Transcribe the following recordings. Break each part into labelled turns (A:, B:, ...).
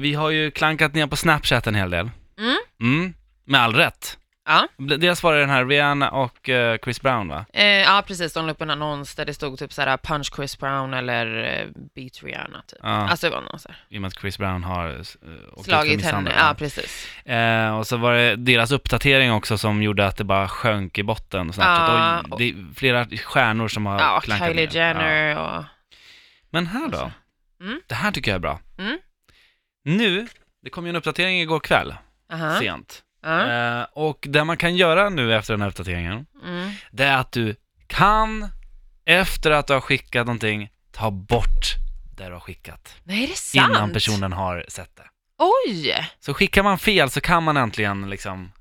A: Vi har ju klankat ner på Snapchat en hel del.
B: Mm.
A: Mm, med all rätt.
B: Ja.
A: Dels var det den här Rihanna och eh, Chris Brown va?
B: Eh, ja, precis. De la upp en annons där det stod typ så här punch Chris Brown eller eh, beat Rihanna typ.
A: Ja,
B: Alltså det var någon så här.
A: i och med att Chris Brown har eh, åkt ut för
B: Slagit henne.
A: misshandel.
B: Ja, precis.
A: Eh, och så var det deras uppdatering också som gjorde att det bara sjönk i botten. Snapchat.
B: Ja,
A: Oj, det är flera stjärnor som har
B: Ja,
A: klankat
B: Kylie
A: ner. Ja.
B: Jenner och...
A: Men här då?
B: Mm.
A: Det här tycker jag är bra.
B: Mm.
A: Nu, det kom ju en uppdatering igår kväll,
B: Aha.
A: sent.
B: Ja.
A: Eh, och det man kan göra nu efter den här uppdateringen,
B: Mm.
A: det är att du kan, efter att du har skickat någonting, ta bort det du har skickat.
B: Nej, är det sant?
A: Innan personen har sett det.
B: Oj!
A: Så skickar man fel så kan man äntligen liksom,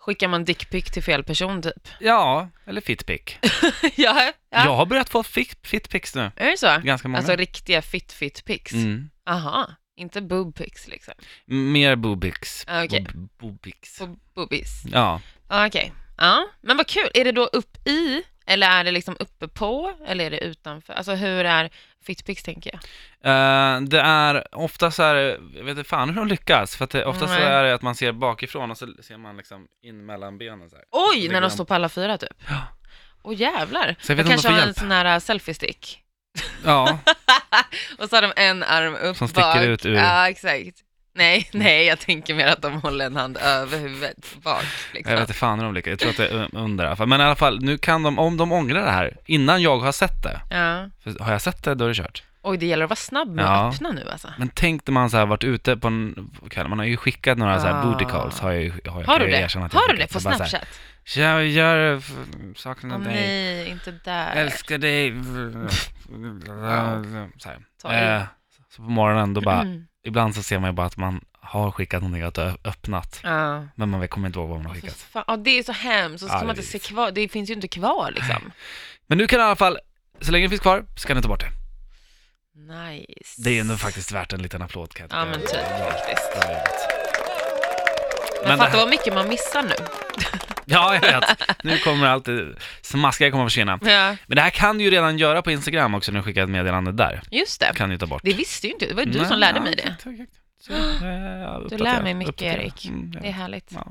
B: Skickar man dickpic till fel person typ?
A: ja, eller fitpick.
B: ja, ja.
A: Jag har börjat få fit- fitpics nu,
B: Är det så?
A: ganska många.
B: Alltså riktiga fit fit pics?
A: Mm.
B: Aha, inte boob pics liksom?
A: Mer boobics.
B: Ah, okej.
A: Bob- boobics.
B: Bo- Boobies?
A: Ja,
B: Ja, Okej. Ja, men vad kul. Är det då upp i eller är det liksom uppe på eller är det utanför? Alltså hur är fitpics tänker jag?
A: Eh, det är oftast så här, jag vet inte fan hur de lyckas, för att det, oftast så
B: Nej.
A: är det att man ser bakifrån och så ser man liksom in mellan benen så här.
B: Oj,
A: Alltså, Det
B: när de
A: glöm-
B: står på alla fyra typ.
A: Ja.
B: Åh jävlar.
A: Så jag vet
B: de
A: inte om de får
B: kanske har en
A: hjälp.
B: sån här äh, selfie-stick.
A: Ja,
B: Och så har de en arm upp
A: Som sticker
B: bak.
A: ut ur-
B: Ja, exakt. Nej, nej, jag tänker mer att de håller en hand över huvudet bak. Liksom.
A: jag vet inte fan hur de lyckas, jag tror att det är un- under i alla fall. Men i alla fall, nu kan de, om de ångrar det här, innan jag har sett det,
B: Ja.
A: för har jag sett det då är det kört.
B: Oj, det gäller att vara snabb med
A: Ja.
B: att öppna nu alltså.
A: Men tänk när man så här varit ute på en, vad kallar man har ju skickat några så här
B: Ah.
A: booty calls, har jag ju, har jag,
B: Har
A: kan
B: du
A: jag
B: det?
A: erkänna att jag
B: Har du det
A: skickat.
B: på
A: Så bara så här,
B: Snapchat?
A: Jag gör f- saken
B: Åh
A: av dig,
B: nej, inte där.
A: älskar dig. Så,
B: Ta
A: här.
B: i.
A: Eh, så på morgonen då bara,
B: Mm.
A: ibland så ser man ju bara att man har skickat någonting att det har öppnat,
B: Ja.
A: men man kommer inte ihåg vad man har
B: Fy
A: skickat.
B: fan. Ja, det är så hemskt, och så
A: Ja,
B: kan man
A: det
B: inte
A: är
B: se kvar, det finns ju inte kvar liksom.
A: Men nu kan i alla fall, så länge det finns kvar, så kan du ta bort det.
B: Nice.
A: Det är ändå faktiskt värt en liten applåd kan jag
B: Ja men typ
A: tycka.
B: faktiskt.
A: Ja, det är roligt.
B: Men,
A: Men-
B: fatta vad mycket man missar nu.
A: Ja, jag vet. Nu kommer allt det smaskiga kommer försvinna.
B: Ja,
A: Men det här kan du ju redan göra på Instagram också när du skickar ett meddelande där.
B: just det.
A: kan du ju ta bort.
B: Det visste ju inte Det var ju du som lärde mig det.
A: Exakt, exakt. Så, eh,
B: Du
A: uppdatera,
B: lär mig mycket
A: uppdatera.
B: Erik.
A: Mm, jag
B: Det är härligt.
A: Ja.